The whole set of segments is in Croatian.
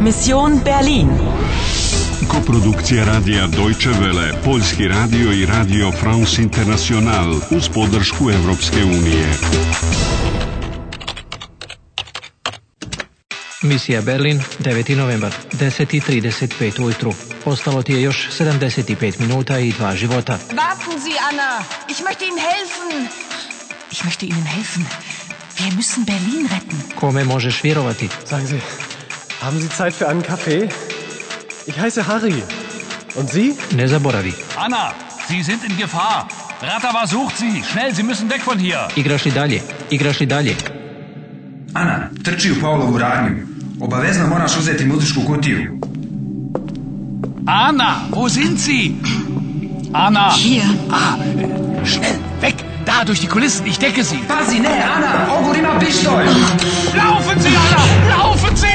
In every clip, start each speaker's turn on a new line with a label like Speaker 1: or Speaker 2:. Speaker 1: Mission Berlin.
Speaker 2: Koprodukcija radija Deutsche Welle, Poljski radio i radio France International uz podršku Europske unije.
Speaker 3: Misija Berlin, 9. novembar, 10.35 ujutru. Ostalo ti je još 75 minuta i dva života.
Speaker 4: Warten Sie, Anna. Ich möchte Ihnen helfen.
Speaker 5: Ich möchte Ihnen helfen. Wir müssen Berlin retten.
Speaker 3: Kome možeš vjerovati?
Speaker 6: Sagen Sie, haben Sie Zeit für einen Kaffee? Ich heiße Harry. Und Sie?
Speaker 3: Ne zaboravi.
Speaker 7: Anna, Sie sind in Gefahr. Ratava sucht Sie. Schnell, Sie müssen weg von hier.
Speaker 3: Igraš li dalje? Igraš li dalje?
Speaker 8: Ana, trči u Pavlovu radnju. Obavezno moraš uzeti muzičku kutiju.
Speaker 7: Anna, wo sind Sie? Anna.
Speaker 5: Hier.
Speaker 7: Ah, schnell, weg. Da, durch die Kulissen. Ich decke Sie.
Speaker 8: Pazi, ne, Ana, Ogur ima pištolj!
Speaker 7: Laufen Sie, Anna. Laufen Sie.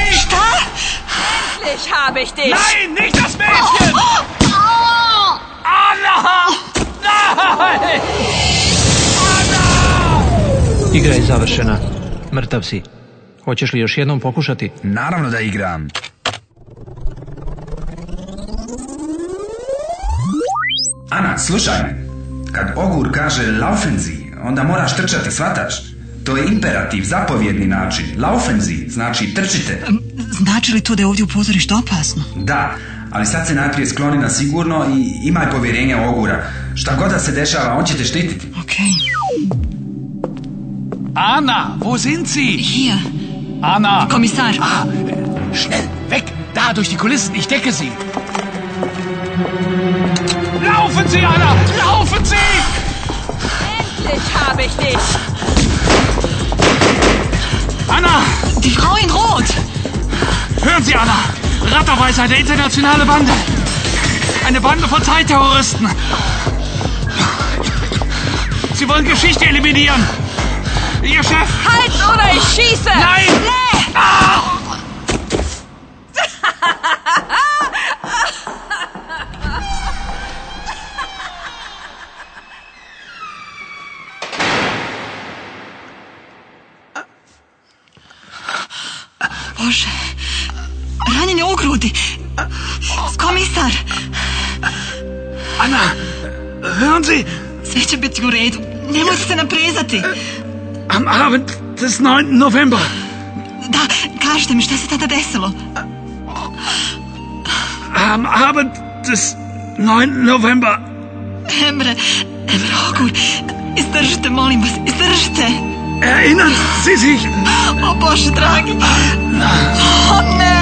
Speaker 4: Endlich habe ich dich.
Speaker 7: Nein, nicht das Mädchen. Anna. Nein.
Speaker 3: Igra je završena. Mrtav si. Hoćeš li još jednom pokušati?
Speaker 8: Naravno da igram. Ana, slušaj me. Kad Ogur kaže laufen Sie, onda moraš trčati, svataš? To je imperativ, zapovjedni način. Laufen Sie znači trčite.
Speaker 5: Znači li to da je ovdje u pozorištu opasno?
Speaker 8: Da, ali sad se najprije skloni na sigurno i imaj povjerenje u Ogura. Šta god da se dešava, on će te štititi.
Speaker 5: Okej.
Speaker 7: Anna, wo sind Sie?
Speaker 5: Hier.
Speaker 7: Anna.
Speaker 5: Kommissar.
Speaker 7: Ah, schnell, weg. Da, durch die Kulissen. Ich decke Sie. Laufen Sie, Anna. Laufen Sie.
Speaker 4: Endlich habe ich dich.
Speaker 7: Anna.
Speaker 5: Die Frau in Rot.
Speaker 7: Hören Sie, Anna! Ratterweis eine internationale Bande! Eine Bande von Zeitterroristen! Sie wollen Geschichte eliminieren! Ihr Chef!
Speaker 4: Halt oder ich schieße.
Speaker 7: Nein! Ah!
Speaker 5: Bože. Ranjen je u grudi. Komisar.
Speaker 7: Anna! Hören Sie!
Speaker 5: Sve će biti u redu. Nemojte se naprezati.
Speaker 7: Am Abend des 9. November
Speaker 5: Da, kažite mi šta se tada desilo.
Speaker 7: Am Abend des 9. November
Speaker 5: Emre, Emre Ogur. Izdržite, molim vas, izdržite.
Speaker 7: erinnern Sie sich
Speaker 5: O Bože, dragi. O ne.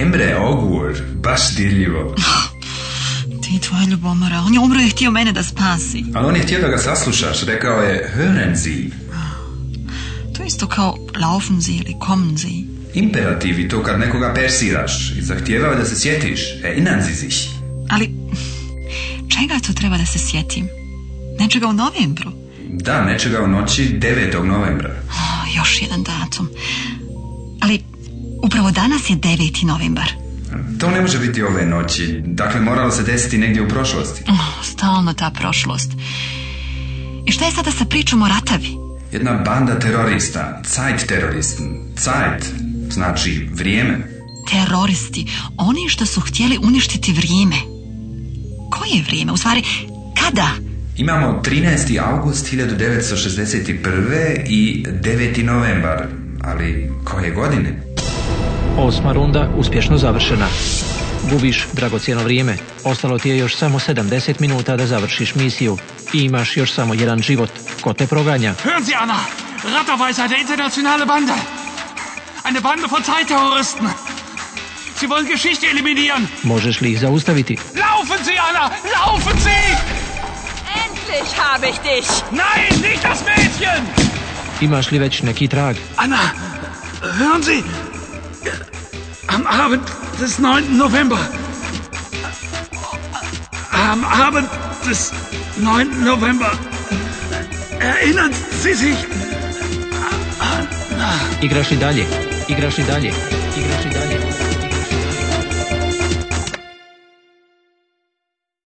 Speaker 8: Emre, Ogur, baš dirljivo.
Speaker 5: Ti i tvoja ljubomora, on je umro i htio mene da spasi.
Speaker 8: Ali on je htio da ga saslušaš, rekao je hören Sie.
Speaker 5: To je isto kao laufen sie ili kommen sie.
Speaker 8: Imperativ i to kad nekoga persiraš i zahtijevao je da se sjetiš. "E, Erinnern Sie sich.
Speaker 5: Ali čega to treba da se sjetim? Nečega u novembru?
Speaker 8: Da, nečega u noći 9. novembra.
Speaker 5: O, još jedan datum. Ali upravo danas je 9. novembar.
Speaker 8: To ne može biti ove noći, dakle moralo se desiti negdje u prošlosti.
Speaker 5: O, stalno ta prošlost. I šta je sada sa pričom o ratavi?
Speaker 8: Jedna banda terorista, Zeit teroristen. Zeit znači vrijeme.
Speaker 5: Teroristi, oni što su htjeli uništiti vrijeme. Koje vrijeme? U stvari, kada?
Speaker 8: Imamo 13. august 1961. i 9. novembar, ali koje godine?
Speaker 3: Osma runda uspješno završena. Gubiš dragocjeno vrijeme. Ostalo ti je još samo 70 minuta da završiš misiju. I imaš još samo jedan život. Ko te proganja?
Speaker 7: Hören Sie, Anna! Ratterweis eine internationale Bande! Eine Bande von Zeitterroristen! Sie wollen Geschichte eliminieren!
Speaker 3: Možeš li ih zaustaviti?
Speaker 7: Laufen Sie, Anna! Laufen Sie!
Speaker 4: Endlich habe ich dich.
Speaker 7: Nein, nicht das Mädchen!
Speaker 3: Imaš li već neki trag?
Speaker 7: Anna, hören Sie! Am Abend des 9. November. Am Abend des 9. November. Erinnern Sie sich
Speaker 3: Igraš li dalje? Igraš li dalje? Igraš li dalje?